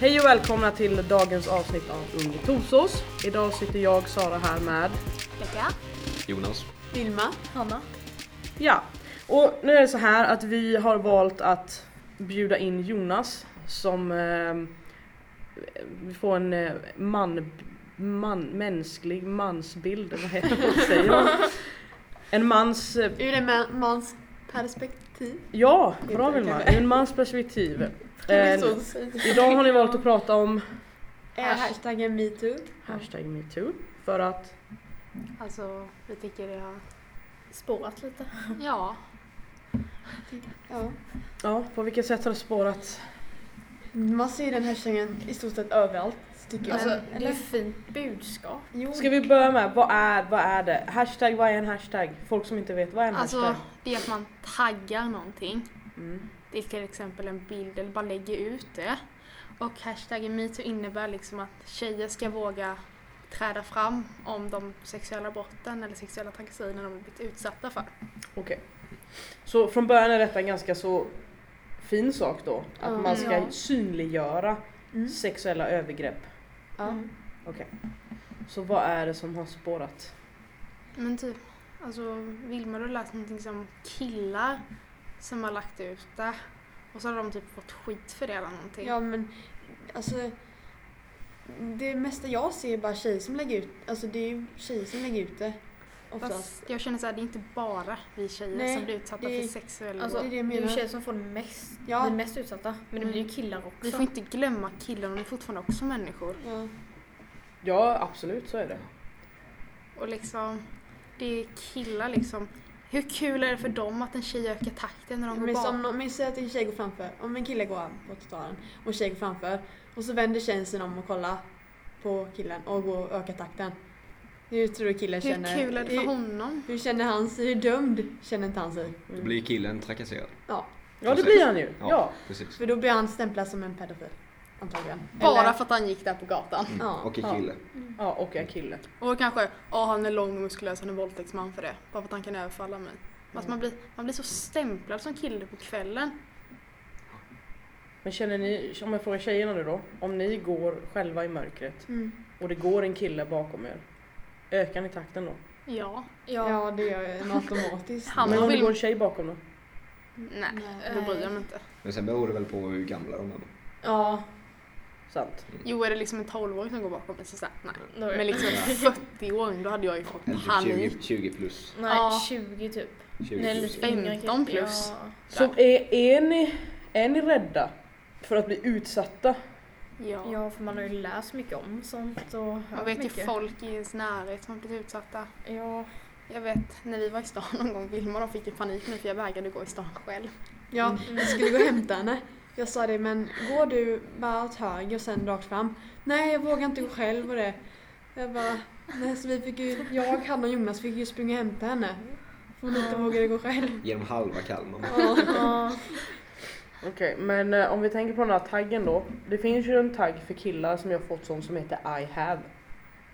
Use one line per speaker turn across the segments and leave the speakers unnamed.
Hej och välkomna till dagens avsnitt av Ung i Torsås. Idag sitter jag, Sara, här med...
Becka.
Jonas.
Vilma.
Hanna.
Ja, och nu är det så här att vi har valt att bjuda in Jonas som... Eh, vi får en eh, man, man... Mänsklig mansbild, vad heter vad säger man? En mans... eh,
Ur en ma- mans perspektiv.
Ja, bra Vilma! Ur en mans perspektiv.
Det är
Eh,
så det sägs.
idag har ni valt att prata om
Eh, Hashtaggen metoo.
hashtag metoo för att
Alltså, jag tycker det har...
Spårat lite.
Ja. ja.
Ja, på vilket sätt har det spårat?
Man ser ju den hashtaggen i stort sett överallt tycker jag.
Alltså,
Eller?
det är ett fint budskap.
jo,
Ska vi börja med, vad är, vad är det? Hashtag, vad är en hashtag? Folk som inte vet, vad är en
Alltså
hashtag?
det är att man taggar någonting.
Mm.
Det är till exempel en bild eller bara lägger ut det. Och hashtaggen metoo innebär liksom att tjejer ska våga träda fram om de sexuella brotten eller sexuella trakasserierna de har blivit utsatta för.
Okej. Så från början är detta en ganska så fin sak då? Att
Ja.
man ska
Ja.
synliggöra
Mm.
sexuella övergrepp.
Ja.
Mm,
Så vad är det som har spårat?
Men typ, alltså Vilma du har läst någonting som killar som har lagt ut det och så har de typ fått skit för det eller någonting.
ja men alltså det mesta jag ser är bara tjejer som lägger ut alltså det är ju tjejer som lägger ut det oftast.
Fast jag känner såhär, det är inte bara vi tjejer
Nej,
som blir utsatta
det-
för sexuella
Alltså,
Alltså,
det är
det
det jag
är ju
menar.
tjejer som får det mest,
Ja. Mm.
blir mest utsatta. Men det blir ju killar också.
Vi
liksom-
får inte glömma killarna, de är fortfarande också människor.
Ja.
Ja absolut så är det.
Och liksom, det är killar liksom. Hur kul är det för dem att en tjej ökar takten när de går
Men som
bak?
någon, men säg att en tjej går framför, om en kille går på trottoaren och en tjej går framför och så vänder tjejen sig om och kollar på killen och går och ökar takten. Hur tror du killen känner?
Hur kul är det för
hur,
honom?
hur känner han sig? Hur dömd känner inte han sig?
Mm.
Då blir killen trakasserad.
Ja,
Ja det
Precis.
blir han ju. Ja.
Ja. Precis.
för då blir han stämplad som en pedofil antagligen.
Bara
Eller-
för att han gick där på gatan.
Mm.
Ja.
Och en
Ja.
kille.
Ja och en kille.
Och kanske, ja han är lång och muskulös, han är våldtäktsman för det. Bara för att han kan överfalla mig. Att
Mm.
man, blir, man blir så stämplad som kille på kvällen.
Men känner ni, om jag frågar tjejerna nu då. Om ni går själva i mörkret
Mm.
och det går en kille bakom er. Ökar ni takten då?
Ja.
Ja.
Ja, det gör jag automatiskt.
Han
Men om det
vill...
går en tjej bakom då?
Nej, då bryr jag mig inte.
Men sen beror det väl på hur gamla de är.
Ja,
Sant.
Jo, är det liksom en 12-åring som går bakom mig så såhär, nej.
Då är
Men liksom 40-åring, då hade jag ju fått
Eller typ
panik.
20, 20 plus.
Nej,
Ja.
20 typ.
20
Nej,
plus.
lite yngre
15
kanske.
plus.
Ja.
Så är, är, ni, är ni rädda för att bli utsatta?
Ja.
ja, för man har ju läst mycket om sånt och hört
Man vet ju
mycket.
folk i ens närhet som har blivit utsatta.
Ja.
Jag vet när vi var i stan någon gång, Vilma och de fick ju panik nu för jag vägrade gå i stan själv.
ja,
Mm.
jag skulle gå och hämta henne. Jag sa det, men går du bara åt höger och sen rakt fram? Nej, jag vågar inte gå själv och det. Jag bara, nej, så vi fick ju, jag, Hanna och Jonas fick ju springa och hämta henne. För hon inte vågade gå själv.
Genom halva Kalmar.
Ja.
Okej, men eh, om vi tänker på den här taggen då. Det finns ju en tagg för killar som jag har fått sån som heter I have.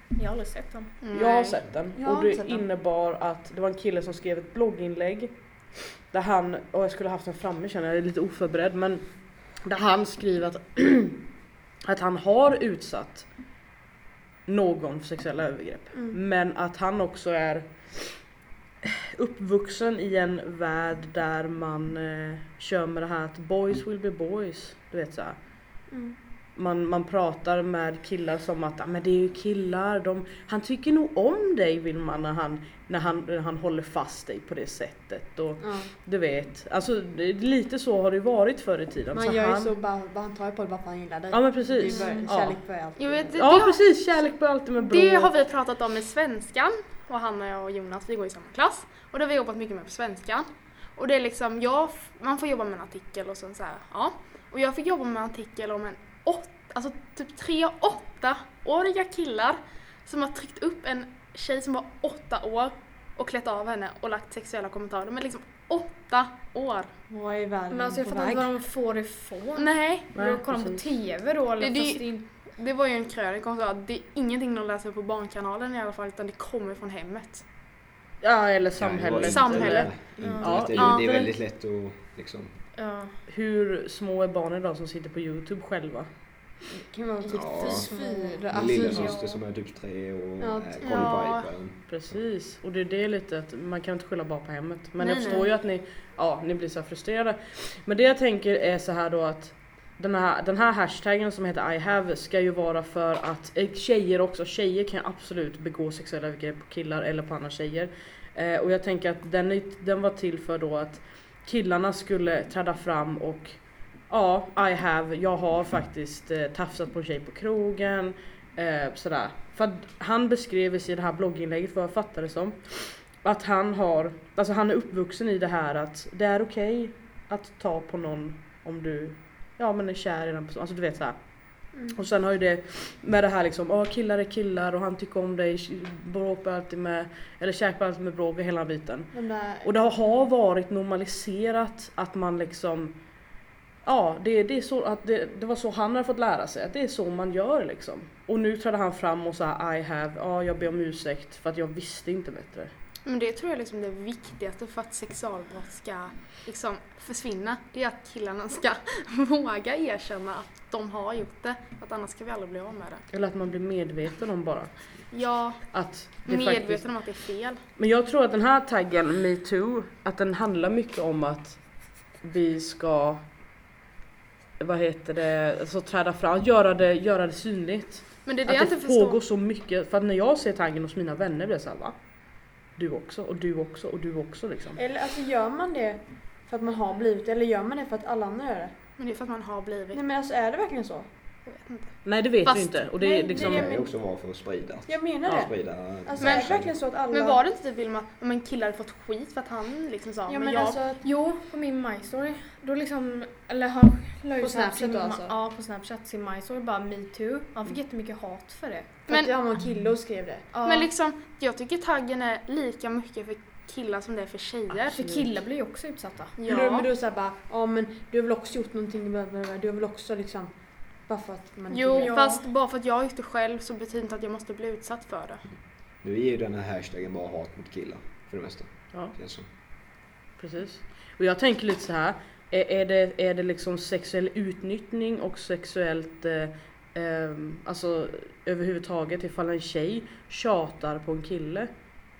Jag har aldrig sett dem.
Mm. Jag har
Nej.
sett den
Jag har
och det
inte sett den.
innebar att det var en kille som skrev ett blogginlägg där han, och jag skulle haft den framme känner jag, jag är lite oförberedd men där han skriver att, att han har utsatt någon för sexuella övergrepp
Mm.
men att han också är uppvuxen i en värld där man eh, kör med det här att boys will be boys. Du vet såhär.
Mm.
Man, man pratar med killar som att "Ah, men det är ju killar, de, han tycker nog om dig Vilma när han, när, han, när han håller fast dig på det sättet. Och,
Ja.
du vet, alltså det- lite så har det ju varit förr i tiden.
Man gör ju så, bara, bara han tar ju på det bara för han gillar dig.
Ja men
det
precis.
är ju bara,
Ja.
kärlek för allt.
Jag vet, det,
ja
det,
precis, kärlek börjar alltid med
har,
bråk.
det har vi pratat om i svenskan och Hanna och Jonas, vi går i samma klass. Och det har vi jobbat mycket med på svenskan. Och det är liksom, jag, f- man får jobba med en artikel och sen så här, ja. Och jag fick jobba med en artikel om en åtta, alltså typ tre åttaåriga killar som har tryckt upp en tjej som var åtta år och klätt av henne och lagt sexuella kommentarer. Men liksom åtta år!
Vad är världen
Men alltså jag
på
fattar
väg?
inte var de får ifrån.
Nej,
Nej,
Då kollar de på
precis.
TV då eller?
Det- det-
fast är-
det var ju en krönika som sa att det är ingenting de läser på Barnkanalen i alla fall utan det kommer från hemmet.
Ja eller
Ja, det
samhället.
var
Samhället.
Inte, inte,
Ja.
lätt. det, är,
Ja.
ju- det är väldigt lätt att liksom...
Ja.
Hur små är barnen idag som sitter på Youtube själva?
Det kan vara typ
Ja.
fyra.
Min
Alltså,
lillasyster som är typ tre och
Ja,
ja,
typ.
koll
Ja.
på iPhone.
Precis, och det är det lite att man kan inte skylla bara på hemmet. Men jag
Nej,
förstår
nej.
ju att ni, ja, ni blir så här frustrerade. Men det jag tänker är så här då att den här, den här hashtaggen som heter I have ska ju vara för att eh, tjejer också, tjejer kan absolut begå sexuella övergrepp på killar eller på andra tjejer. Eh, och jag tänker att den, är- den var till för då att killarna skulle träda fram och ja, I have, jag har faktiskt eh, tafsat på en tjej på krogen. Eh, sådär. För att han beskrev i sig det här blogginlägget vad jag fattade som att han har, alltså han är uppvuxen i det här att det är okej att ta på någon om du ja men är kär i den personen, alltså du vet såhär. Och sen har ju det med det här liksom, åh killar är killar och han tycker om dig, bråk blir alltid med, eller käk blir alltid med bråk och hela den biten.
De där...
Och det har varit normaliserat att man liksom Ja, det, det, är så, att det, det var så han har fått lära sig, att det är så man gör liksom. Och nu trädde han fram och sa I have, ja jag ber om ursäkt för att jag visste inte bättre.
Men det tror jag är liksom det viktigaste för att sexualbrott ska liksom försvinna. Det är att killarna ska våga erkänna att de har gjort det. Att annars ska vi aldrig bli av med det.
Eller att man blir medveten om bara
Ja,
att det
medveten
faktiskt...
om att det är fel.
Men jag tror att den här taggen, metoo, att den handlar mycket om att vi ska vad heter det, alltså träda fram, göra det, göra det synligt.
Men det är det,
att
jag
det
inte
pågår så
förstår.
mycket, för att när jag ser taggen hos mina vänner blir jag såhär va? Du också, och du också, och du också liksom.
Eh,
Eller alltså gör man det för att man har blivit eller gör man det för att alla andra gör det?
Men det är för att man har blivit.
Nej men alltså är det verkligen så?
Nej det vet
Fast-
vi inte. Och det
nej,
är liksom,
det
Det
är-
det,
kan ju också vara för att sprida.
Jag menar
Ja.
det.
sprida
Alltså
men,
är det verkligen så att alla...
Men var det inte typ Vilma, om en kille hade fått skit för att han liksom sa
Ja
men
men
jag...
alltså att...
Jo, på min My Story. Då liksom, eller han la
På
ut
Snapchat
sin,
då alltså?
Ja, på Snapchat sin My Story, bara metoo. Han fick jättemycket hat för det.
För
Men-
att det var en kille och skrev det.
Ja,
Men liksom, jag tycker taggen är lika mycket för killar som det är för tjejer.
för killar blir ju också utsatta.
Men då, men
Ja.
då såhär bara, ja men du har väl också gjort någonting, bla, bla, bla. du har väl också liksom... Bara för att man inte
Jo,
vet.
fast bara för att jag har gjort det själv så betyder inte att jag måste bli utsatt för det.
nu är ju den här hashtaggen bara hat mot killar. För det mesta.
Ja.
Känns som.
precis. Och jag tänker lite så här. Är, är, det, är det liksom sexuell utnyttjning och sexuellt eh, ehm, alltså överhuvudtaget ifall en tjej tjatar på en kille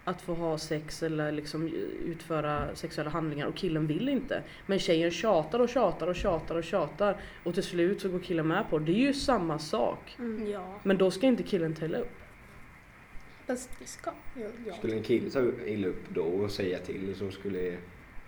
att få ha sex eller liksom utföra sexuella handlingar och killen vill inte. Men tjejen tjatar och tjatar och tjatar och tjatar och till slut så går killen med på det. Det är ju samma sak.
Mm.
Mm.
Ja.
Men då ska inte killen tälla upp.
Fast det ska jag.
Skulle en kille ta illa upp då och säga till så skulle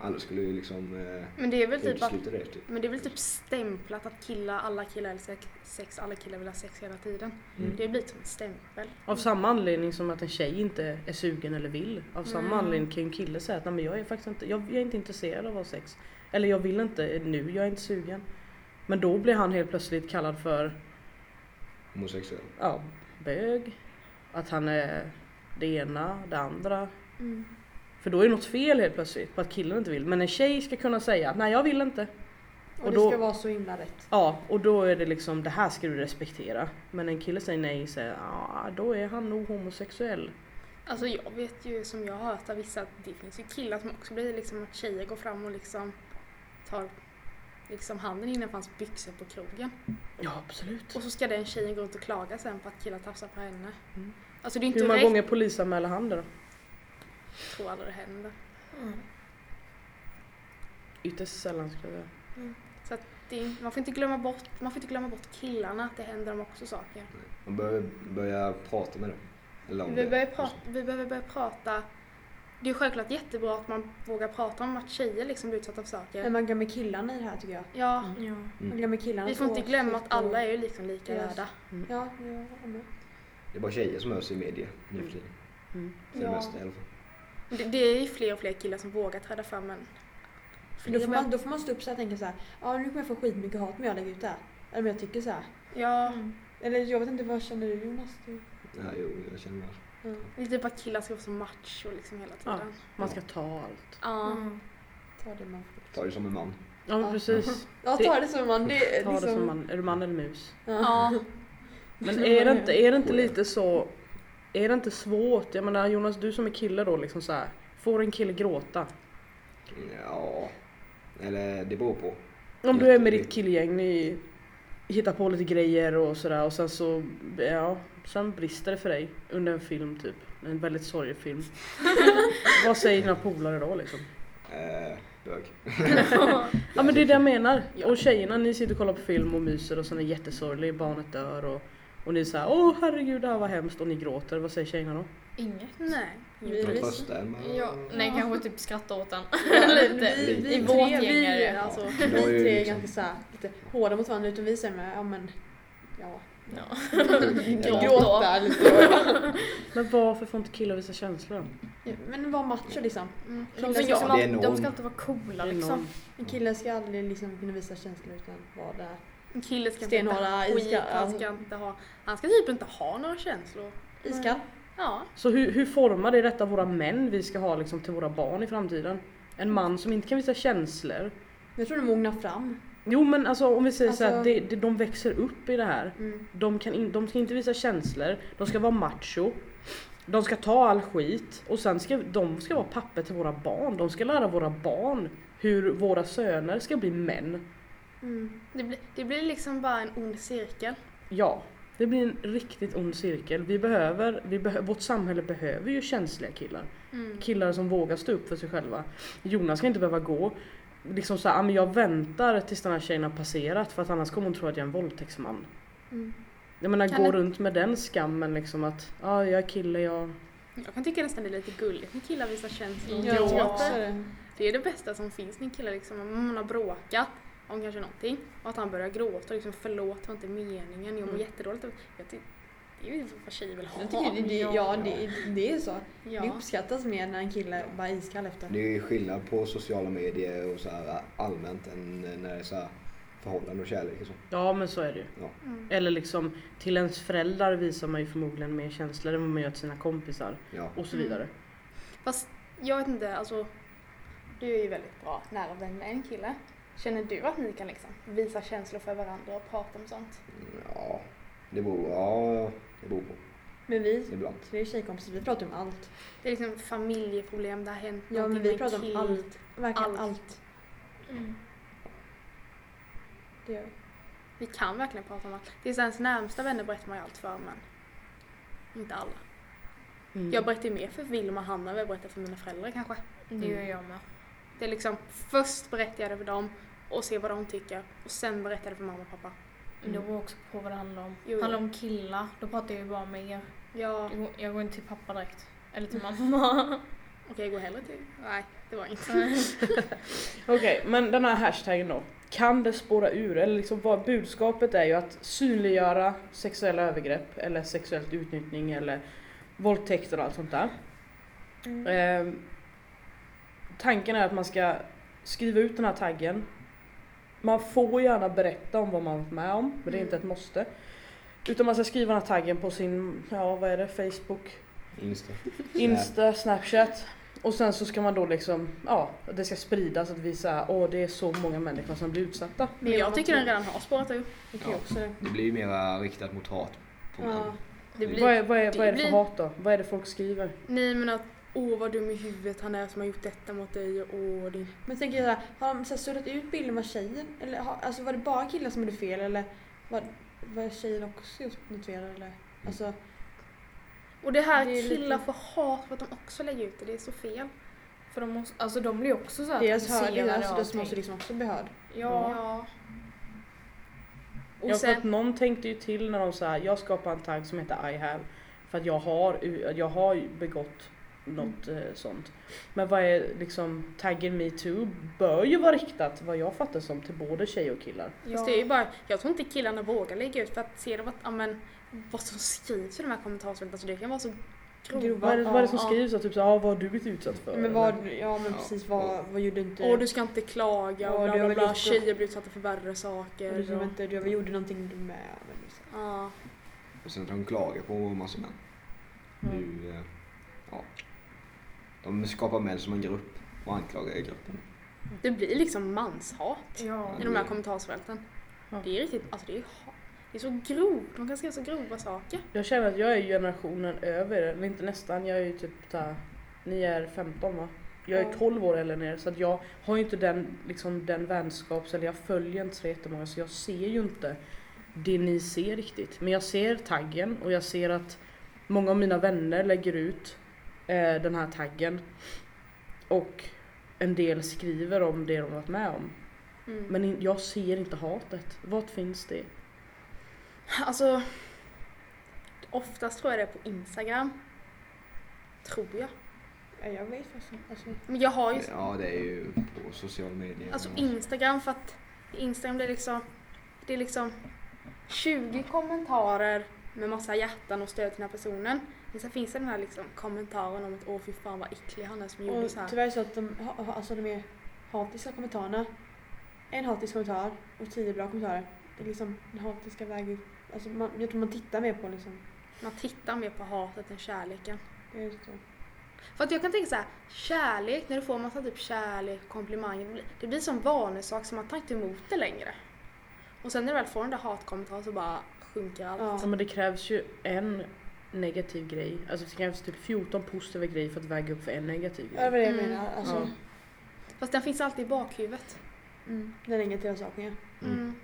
alla skulle ju liksom eh,
Men det är väl typ att
utesluta det. Typ.
men det är väl typ stämplat att killar, alla killar älskar sex, alla killar vill ha sex hela tiden.
Mm.
Det blir som en stämpel.
Av samma anledning som att en tjej inte är sugen eller vill. Av samma
Mm.
anledning kan ju en kille säga att Nej, men jag är faktiskt inte, jag, jag är inte intresserad av att ha sex. Eller jag vill inte nu, jag är inte sugen. Men då blir han helt plötsligt kallad för
Homosexuell.
ja, bög. Att han är det ena, det andra.
Mm.
För då är det något fel helt plötsligt på att killen inte vill. Men en tjej ska kunna säga att nej jag vill inte.
Och,
Och
det
då-
ska vara så himla rätt.
Ja, och då är det liksom det här ska du respektera. Men en kille säger nej, säger ja, då är han nog homosexuell.
Alltså jag vet ju som jag har hört av vissa att det finns ju killar som också blir liksom att tjejer går fram och liksom tar liksom handen innanför hans byxor på krogen.
Mm. Ja absolut.
Och så ska den tjejen gå runt och klaga sen på att killar tafsar på henne.
Mm.
Alltså det är inte
Hur många
rätt,
gånger polisanmäler han det då?
jag tror aldrig det händer.
Ytterst sällan skulle jag säga.
Det är, man, får inte glömma bort, man får inte glömma bort killarna, att det händer dem också saker.
Man bör börja prata med dem. Eller om
Vi
det.
behöver, prata, vi behöver börja prata. Det är självklart jättebra att man vågar prata om att tjejer liksom blir utsatta för
Men
Mm.
saker.
man glömmer killarna i det här tycker jag.
Ja,
Ja.
Mm.
Man
Mm.
glömmer killarna.
vi får inte glömma att alla är ju liksom lika
Yes.
värda.
Ja, ja, jag med.
det är bara tjejer som hörs i media nu för tiden.
Mm.
För det
Ja.
mesta i alla fall.
Men Det, det är ju fler och fler killar som vågar träda fram men
För då, får man, då får man stå upp så här och tänka så här. Ja nu kommer jag få skitmycket hat om jag lägger ut det här. Eller om jag tycker så här.
ja,
Eller jag vet inte, vad känner du Jonas? Du?
Ja, jo, jag känner väl.
det är typ att killar ska vara så macho liksom hela tiden.
Man ska ta allt.
Ja.
Mm.
Ta det man får.
Ta det som en man.
Ja men
Ja.
precis.
Ja
Det-
ta det som man. Det är
Ta det
liksom...
som man, är du man eller mus?
ja.
Men
som
är
man
det
är.
inte, är det inte
Oh, ja.
lite så, är det inte svårt? Jag menar Jonas du som är kille då liksom så här. får en kille gråta?
Ja. Eller det beror på.
Om du är med ditt killgäng, ni hittar på lite grejer och sådär och sen så, ja, sen brister det för dig under en film typ. En väldigt sorglig film. Vad säger dina polare då liksom?
Eh, bög.
Ja men det är det jag menar. Och tjejerna, ni sitter och kollar på film och myser och sen är det jättesorglig, barnet dör och, och ni säger åh herregud det här var hemskt och ni gråter. Vad säger tjejerna då?
Inget.
Nej.
Vi,
De
lys-
första är man...
Ja, nej, kanske typ skratta åt den.
vi,
Lite.
vi,
I
tre, vi,
våtgängare.
alltså,
Ja, det
vi
var ju
tre är
liksom-
ganska så här, lite hårda mot varandra utan vi säger med, ja men ja.
Ja.
Ja.
Gråta lite.
Men varför får inte killar visa känslor?
Ja, Men var macho liksom.
Mm.
De
Killar
ska,
ska,
liksom,
Det är
alltid- de
någon.
ska alltid vara coola
Det är
liksom.
någon-
en kille ska aldrig liksom kunna visa känslor utan vara där.
En kille ska
Stenhårda,
inte ha skit,
iskall-
han ska inte ha... Han ska typ inte ha några känslor.
Iskall.
Ja.
Så hur, hur formar det detta våra män vi ska ha liksom till våra barn i framtiden? En man som inte kan visa känslor.
Jag tror de mognar fram.
Jo men alltså om vi säger så här,
Alltså-
det, det, de växer upp i det här.
Mm.
De, kan in, de ska inte visa känslor, de ska vara macho. De ska ta all skit och sen ska de ska vara papper till våra barn. De ska lära våra barn hur våra söner ska bli män.
Mm.
Det blir, det blir liksom bara en ond cirkel.
Ja, det blir en riktigt ond cirkel. Vi behöver, vi behö, vårt samhälle behöver ju känsliga killar.
Mm.
Killar som vågar stå upp för sig själva. Jonas ska inte behöva gå liksom så här, "Ah, men jag väntar tills den här tjejen har passerat för att annars kommer hon tro att jag är en våldtäktsman.
Mm.
Jag menar
Kan
gå
det-
runt med den skammen liksom att ja, ah, jag är kille, jag...
Jag kan tycka nästan det är lite gulligt när killar visar känslor. Typ.
Ja.
Mm. Jag tror också det.
Det är det bästa som finns när killar liksom, om man har bråkat om kanske någonting och att han börjar gråta och liksom förlåt det var inte meningen, jag mår
Mm.
jättedåligt. Jag ty- det är ju vad tjejer vill ha.
Jag tycker det, det, ja, det, det är så. Det
Ja.
uppskattas mer när en kille bara är iskall efter.
Det är ju skillnad på sociala medier och så här allmänt än när det är så här förhållande och kärlek och så.
Ja men så är det ju.
Ja.
Mm.
Eller liksom till ens föräldrar visar man ju förmodligen mer känslor än vad man gör till sina kompisar
Ja.
och så
Mm.
vidare.
Fast jag vet inte, alltså du är ju väldigt bra nära vän med en kille. Känner du att ni kan liksom visa känslor för varandra och prata om sånt?
Ja, det beror, ja, det beror på.
Men vi
Ibland.
tre tjejkompisar, vi pratar om allt.
Det är liksom familjeproblem, det har hänt
Ja men vi pratar om allt. Verkligen
Allt.
allt.
Mm.
Det gör vi.
Vi kan verkligen prata om allt. Det är så ens närmsta vänner berättar man ju allt för men inte alla.
Mm.
Jag berättar ju mer för Wilma och Hanna än vad jag berättar för mina föräldrar kanske.
Det gör jag med.
Det är liksom först berättar jag det för dem och ser vad de tycker och sen berättar jag det för mamma och pappa.
Men
Mm.
Det beror också på vad det handlar om.
Jo, jo.
Handlar det om killar, då pratar jag ju bara med er.
Ja, Mm.
Jag går, jag går inte till pappa direkt. Eller till mamma.
okej jag går hellre till... Nej, det var inte.
Okej, men den här hashtaggen då. Kan det spåra ur? Eller liksom vad budskapet är ju att synliggöra sexuella övergrepp eller sexuellt utnyttjning eller våldtäkter och allt sånt där. Eh, tanken är att man ska skriva ut den här taggen. Man får gärna berätta om vad man varit med om, men det är inte ett måste. Utan man ska skriva den här taggen på sin, ja vad är det, Facebook,
Insta.
Insta, Snapchat. Och sen så ska man då liksom, ja, det ska spridas att vi säger åh det är så många människor som blir utsatta.
Men jag tycker den redan har spårat ur.
Vi kan ju
Ja.
också det.
Det blir ju mera riktat mot hat. På
Ja.
Det
Mm.
blir...
vad, är, vad, är, vad är det för
blir-
hat då? Vad är det folk skriver?
Nej men att åh vad dum i huvudet han är som har gjort detta mot dig och åh din...
Men tänker jag såhär, har de så här suddat ut bilden med tjejen? Eller har, alltså var det bara killar som gjorde fel eller var, var tjejen också gjort något fel eller? Alltså,
Och det här
Det är lite-
killar får hat för att de också lägger ut det, det är så fel.
För de, måste, alltså, de blir också så här
deras hörd,
traumatiserade
alltså
av
de måste
allting.
liksom också bli hörd.
Ja.
Och
ja, för
sen...
att någon tänkte ju till när de sa jag skapar en tagg som heter I have. För att jag har, jag har ju begått något eh, sånt. Men vad är liksom taggen metoo bör ju vara riktat vad jag fattar som till både tjejer och killar.
Fast det är ju bara, jag tror inte killarna vågar lägga ut för att ser de att, ja, men, vad som skrivs i de här kommentarsfälten, alltså det kan vara så grova.
Grova.
Vad är det, vad är det som
Ja, ja.
skrivs? då? Typ så, ah, vad har du blivit utsatt för?
Men
Eller-
vad, ja men
Ja.
precis vad, vad gjorde inte
Och du ska inte klaga och bla
Ja, du har
bla
väl
bla,
gjort-
tjejer blir utsatta för värre saker.
du
Och,
inte, du gjorde någonting du med. ja, men så.
ja.
Och sen att de klagar på massor män. Nu, eh, ja. De skapar män som en grupp och anklagar i gruppen.
Det blir liksom manshat
Ja.
i de här kommentarsfälten.
Ja.
Det är riktigt, alltså det är, ha- det är så grovt, de kan skriva så grova saker.
Jag känner att jag är generationen över, eller inte nästan, jag är ju typ där, ni är 15 va? Jag är
Ja.
12 år eller ner så att jag har ju inte den, liksom, den vänskaps, eller jag följer inte så jättemånga så jag ser ju inte det ni ser riktigt. Men jag ser taggen och jag ser att många av mina vänner lägger ut eh, den här taggen. Och en del skriver om det de varit med om.
Mm.
Men in- jag ser inte hatet. Vart finns det?
Alltså, oftast tror jag det är på Instagram. Tror jag.
Ja, jag vet faktiskt inte. Alltså,
Men jag har ju
Ja, det är ju på sociala medier.
alltså Instagram för att Instagram det är liksom, det är liksom 20 kommentarer med massa hjärtan och stöd till den här personen. Men sen finns det den här liksom kommentaren om att åh fy fan vad äcklig han är som gjorde
och
så här.
tyvärr så att de, ha- ha- alltså de är hatiska kommentarerna. En hatisk kommentar och tio bra kommentarer. Det är liksom den hatiska vägen. Alltså man, jag tror man tittar mer på liksom.
Man tittar mer på hatet än kärleken.
Det är så.
För att jag kan tänka så här, kärlek, när du får massa typ kärlek, komplimanger, det blir- det blir som vanesak så man tar inte emot det längre. Och sen när du väl får den där hatkommentaren så bara sjunker allt.
Ja.
Ja, men det krävs ju en negativ grej. Alltså det krävs typ 14 positiva grejer för att väga upp för en negativ grej.
Ja, det var det jag
Mm.
menar. Alltså,
Ja.
Fast den finns alltid i bakhuvudet.
mm, den negativa saken ja.
Mm.
Mm.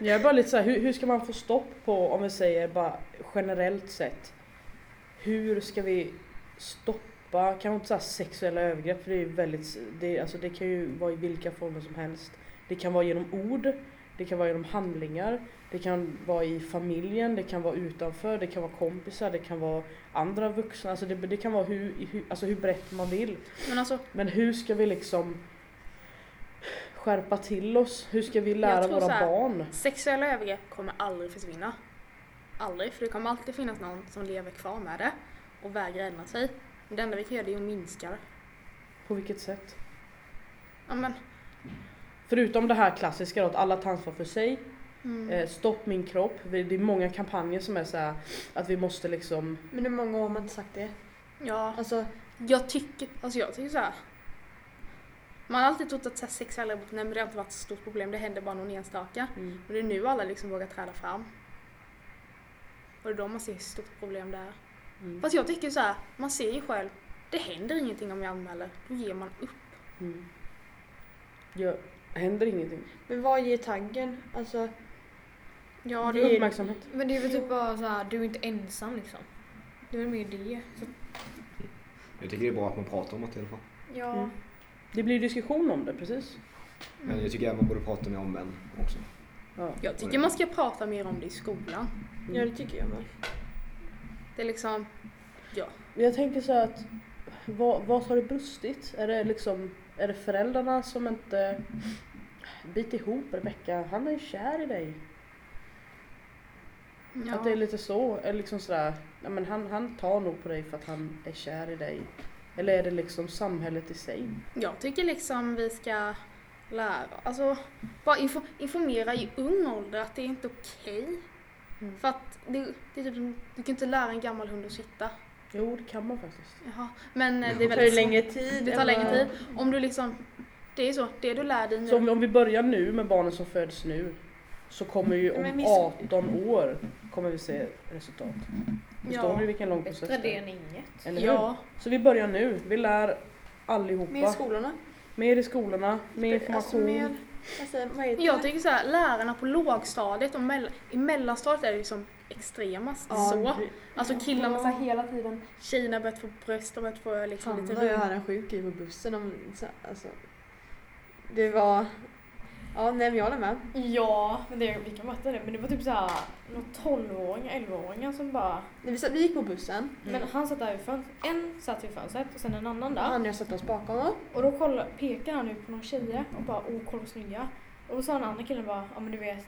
Jag är bara lite så här, hur, hur ska man få stopp på, om vi säger bara generellt sett, hur ska vi stoppa, kan man inte säga sexuella övergrepp, för det är ju väldigt, det, är- alltså det kan ju vara i vilka former som helst. Det kan vara genom ord, det kan vara genom handlingar, det kan vara i familjen, det kan vara utanför, det kan vara kompisar, det kan vara andra vuxna, alltså det, det kan vara hur, hur, alltså hur brett man vill.
Men alltså,
Men hur ska vi liksom skärpa till oss? Hur ska vi
Jag
lära
tror
våra
så här-
barn?
Sexuella övergrepp kommer aldrig försvinna. Aldrig, för det kommer alltid finnas någon som lever kvar med det och vägrar ändra sig. Men det enda vi kan göra det är att minska det.
På vilket sätt?
Ja, men,
Förutom det här klassiska då, att alla tar ansvar för sig.
mm.
Eh, stopp min kropp. Vi- Det är många kampanjer som är så här att vi måste liksom...
Men hur många år har man inte sagt det?
ja.
Alltså,
Jag tycker, alltså jag tycker så här. Man har alltid trott att så här sexuella övergrepp, nej men det har inte varit ett stort problem, det händer bara någon enstaka. Men det är nu alla liksom vågar träda fram. Och det är då man ser hur stort problem det är.
Mm.
Fast jag tycker så här, man ser ju själv, det händer ingenting om jag anmäler. Då ger man upp.
Mm. Ja, händer ingenting.
men vad ger taggen? Alltså,
Ja,
det är-
Uppmärksamhet.
Men det är väl typ bara så här, du är inte ensam liksom. Det är väl mer det. Så,
Jag tycker det är bra att man pratar om det i alla fall.
ja.
Mm. Det blir diskussion om det, precis.
Mm.
Men jag tycker även man borde prata mer om män också.
Ja.
Jag tycker man ska prata mer om det i skolan.
Mm.
ja det tycker jag med.
Det är liksom,
Jag tänker så här att vad, vad har det brustit? Är det liksom är det föräldrarna som inte... Bit ihop Rebecka, han är ju kär i dig. Att det är
ja.
lite så, eller liksom sådär, ja, men han, han tar nog på dig för att han är kär i dig. Eller är det liksom samhället i sig?
Jag tycker liksom vi ska lära, alltså bara info, informera i ung ålder att det är inte okej.
Mm.
För att det, det är typ, som- du kan inte lära en gammal hund att sitta.
Jo, det kan man faktiskt.
Jaha. Men eh, det är
Det tar ju
väldigt
längre tid.
Det tar
än
längre
vad-
tid. Om du liksom, det är så, det du lär dig nu.
Så om, om vi börjar nu med barnen som föds nu så kommer ju
Men
om
vi-
18 år kommer vi se resultat. Förstår
Ja.
ni vilken lång process
Bättre det än inget.
Eller hur?
ja.
Så vi börjar nu. Vi lär allihopa.
Med skolorna.
Mer i skolorna, mer information. Mm.
Alltså med, vad säger- vad heter
Jag
det?
tycker så här, lärarna på lågstadiet och mell- i mellanstadiet är det liksom extremast
Ja,
så.
gud.
Alltså killarna så här hela tiden, tjejerna har börjat få bröst, de har börjat få liksom
Fan
lite
vad jag
runt.
hade en sjuk grej på bussen. Om, så, alltså, det var... Ja, nej men jag håller med.
Ja, men det, vi kan möta det. Men det var typ såhär, några 12-åringar, 11-åringar som bara...
När vi, satt, vi gick på bussen.
Mm.
Men han satt där vid fönstret. En satt vid fönstret och sen en annan där.
Han och jag satte oss bakom och
Och då kolla, pekar han ut på några tjejer och bara åh kolla vad snygga. Och så sa den andra killen bara ja men du vet,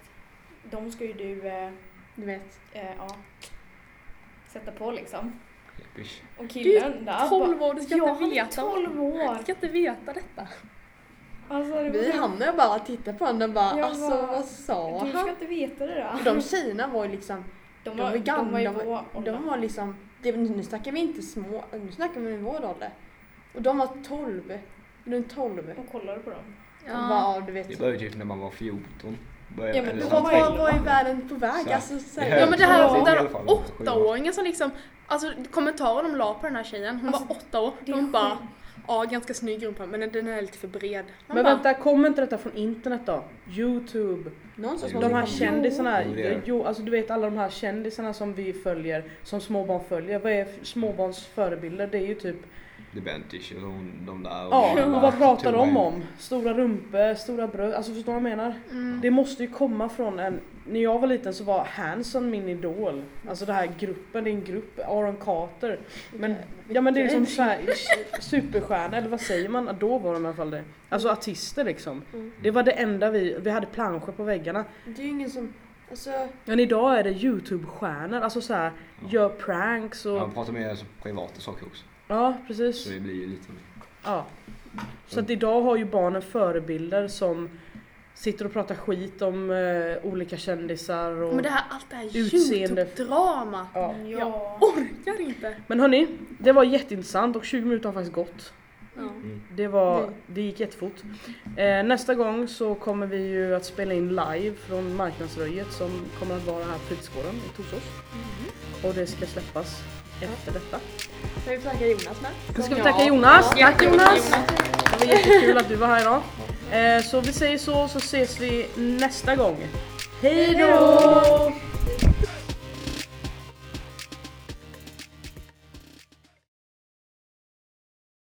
de ska ju du eh,
du vet.
eh, ja, sätta på liksom.
Episch.
Och
Du är
killen där
12 år, du ska
ja,
inte
han är
veta.
12
Du
år!
ska inte veta detta.
Alltså det var
Vi
typ,
hamnade och bara tittade på varandra och bara
Jag
alltså
bara,
vad sa
du ska
han?
inte veta det
För
där.
De tjejerna var ju liksom,
De
var gamla,
de var ju
de var-
vår
de
ålder.
var liksom, det, nu snackar vi inte små, nu snackar vi vår ålder. Och de var 12, runt 12. Och
Och kollade på dem.
bara, ja, du vet.
Det började ju typ när man var 14. Började,
Ja, men
eller
det
Vad
var
samtidigt.
ju-
var, var är världen på väg?
Så här.
Alltså, så här,
Ja men det här
Ja.
var
I alla
den
fall.
åttaåringen som liksom, alltså kommentaren de la på den här tjejen, hon
Alltså,
var åtta år,
det är
de bara Ja, ganska snygg rumpa men den är lite för bred. Man
Men
bara,
vänta, kommer inte detta från internet då? Youtube?
Någonstans
Jo.
De här
måste det komma.
kändisarna,
Jo, det är det.
jo, alltså du vet alla de här kändisarna som vi följer, som småbarn följer. Vad är f- småbarns förebilder? Det är ju typ,
The Bentish och de, de där.
ja,
de
och vad pratar de om? Stora rumpor, stora bröst, alltså förstår du vad jag menar?
Mm.
Det måste ju komma från en, när jag var liten så var Hanson min idol. Alltså den här gruppen, det är en grupp, Aaron Carter. Men, ja men det är ju som så här, superstjärna, eller vad säger man? Då var de i alla fall det. Alltså artister liksom.
Mm.
Det var det enda vi, vi hade planscher på väggarna.
Det är ju ingen som... Alltså,
Men idag är det Youtube-stjärnor, alltså så här,
Ja.
gör pranks och...
Ja,
Ja,
de pratar mer så privata saker också.
precis.
Så det blir ju lite mer.
Ja. Så att idag har ju barnen förebilder som sitter och pratar skit om eh, olika kändisar och...
Men det här, allt det här
Utseende.
Youtube-drama.
ja.
Ja.
Orkar inte.
Men hörni, det var jätteintressant och 20 minuter har faktiskt gått.
Ja.
Det, var, det gick jättefort. Eh, nästa gång så kommer vi ju att spela in live från Marknadsröjet som kommer att vara här på fritidsgården i Torsås. Och det ska släppas efter detta.
Mhm. ska vi flagga Jonas med?
Då ska vi tacka Jonas. Tack
Jättekul,
Jonas! Det var jättekul att du var här idag. Eh, så vi säger så, så ses vi nästa gång. Hej då!